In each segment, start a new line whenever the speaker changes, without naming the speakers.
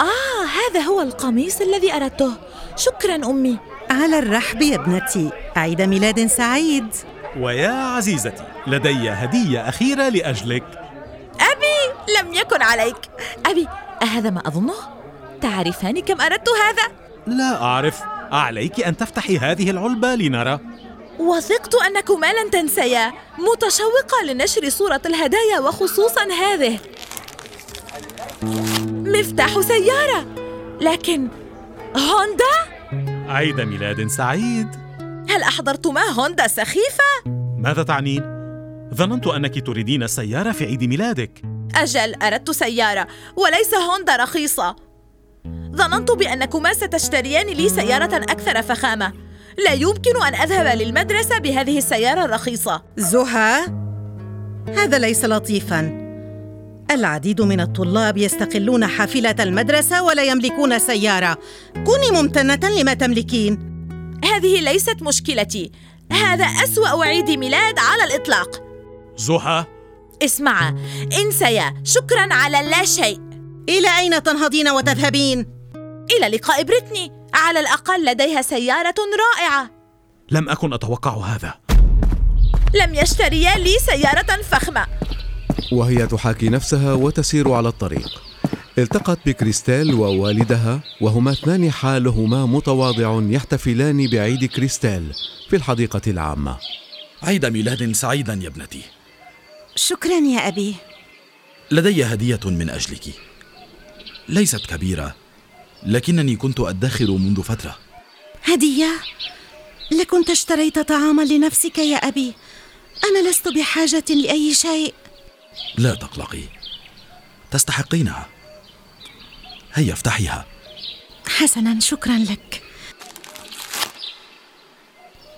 آه، هذا هو القميص الذي أردته شكرا أمي
على الرحب يا ابنتي عيد ميلاد سعيد
ويا عزيزتي لدي هدية أخيرة لأجلك
أبي لم يكن عليك أبي أهذا ما أظنه؟ تعرفان كم أردت هذا؟
لا أعرف عليك أن تفتحي هذه العلبة لنرى
وثقت أنكما لن تنسيا متشوقة لنشر صورة الهدايا وخصوصا هذه مفتاح سيارة لكن هوندا؟
عيد ميلاد سعيد
هل أحضرتما هوندا سخيفة؟
ماذا تعنين؟ ظننت أنك تريدين السيارة في عيد ميلادك
أجل أردت سيارة وليس هوندا رخيصة ظننت بأنكما ستشتريان لي سيارة أكثر فخامة لا يمكن أن أذهب للمدرسة بهذه السيارة الرخيصة
زهى هذا ليس لطيفا العديد من الطلاب يستقلون حافلة المدرسة ولا يملكون سيارة كوني ممتنة لما تملكين
هذه ليست مشكلتي هذا أسوأ عيد ميلاد على الإطلاق
زهى
اسمعا انسيا شكرا على لا شيء
إلى أين تنهضين وتذهبين؟
إلى لقاء بريتني على الأقل لديها سيارة رائعة
لم أكن أتوقع هذا
لم يشتريا لي سيارة فخمة
وهي تحاكي نفسها وتسير على الطريق التقت بكريستال ووالدها وهما اثنان حالهما متواضع يحتفلان بعيد كريستال في الحديقة العامة
عيد ميلاد سعيدا يا ابنتي
شكرا يا أبي
لدي هدية من أجلك ليست كبيرة لكنني كنت أدخر منذ فترة
هدية لكنت اشتريت طعاما لنفسك يا أبي أنا لست بحاجة لأي شيء
لا تقلقي تستحقينها هيا افتحيها
حسنا شكرا لك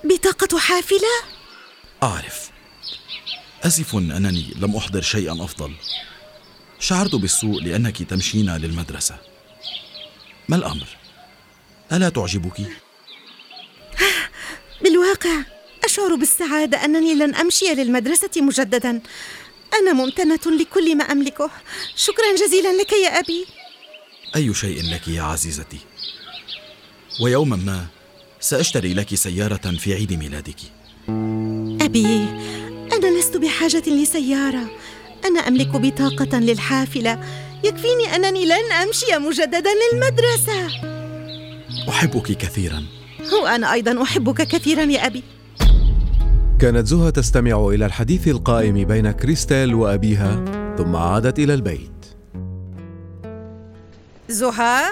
بطاقة حافلة؟
أعرف آسف أنني لم أحضر شيئا أفضل شعرت بالسوء لأنك تمشين للمدرسة ما الأمر؟ ألا تعجبك؟
بالواقع أشعر بالسعادة أنني لن أمشي للمدرسة مجددا أنا ممتنة لكل ما أملكه شكرا جزيلا لك يا أبي
أي شيء لك يا عزيزتي ويوما ما سأشتري لك سيارة في عيد ميلادك
أبي أنا لست بحاجة لسيارة أنا أملك بطاقة للحافلة يكفيني أنني لن أمشي مجددا للمدرسة
أحبك كثيرا
وأنا أيضا أحبك كثيرا يا أبي
كانت زهى تستمع إلى الحديث القائم بين كريستال وأبيها ثم عادت إلى البيت
زهى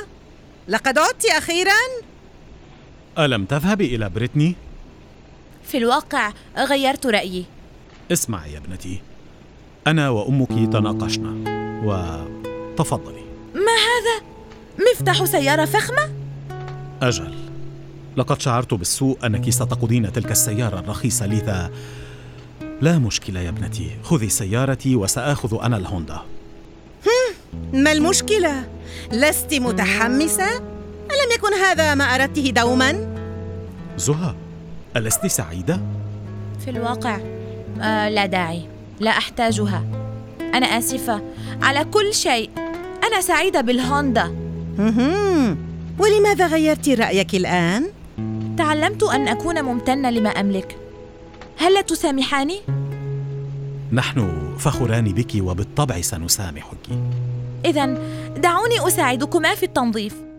لقد عدت أخيرا
ألم تذهبي إلى بريتني؟
في الواقع غيرت رأيي
اسمعي يا ابنتي أنا وأمك تناقشنا وتفضلي
مفتاح سيارة فخمة
أجل لقد شعرت بالسوء أنك ستقودين تلك السيارة الرخيصة لذا لا مشكلة يا ابنتي خذي سيارتي وسآخذ أنا الهوندا
ما المشكلة؟ لست متحمسة؟ ألم يكن هذا ما أردته دوما؟
زهى ألست سعيدة؟
في الواقع آه لا داعي لا أحتاجها أنا آسفة على كل شيء أنا سعيدة بالهوندا
مهم. ولماذا غيرت رأيك الآن؟
تعلمت أن أكون ممتنة لما أملك هل تسامحاني؟
نحن فخوران بك وبالطبع سنسامحك
إذا دعوني أساعدكما في التنظيف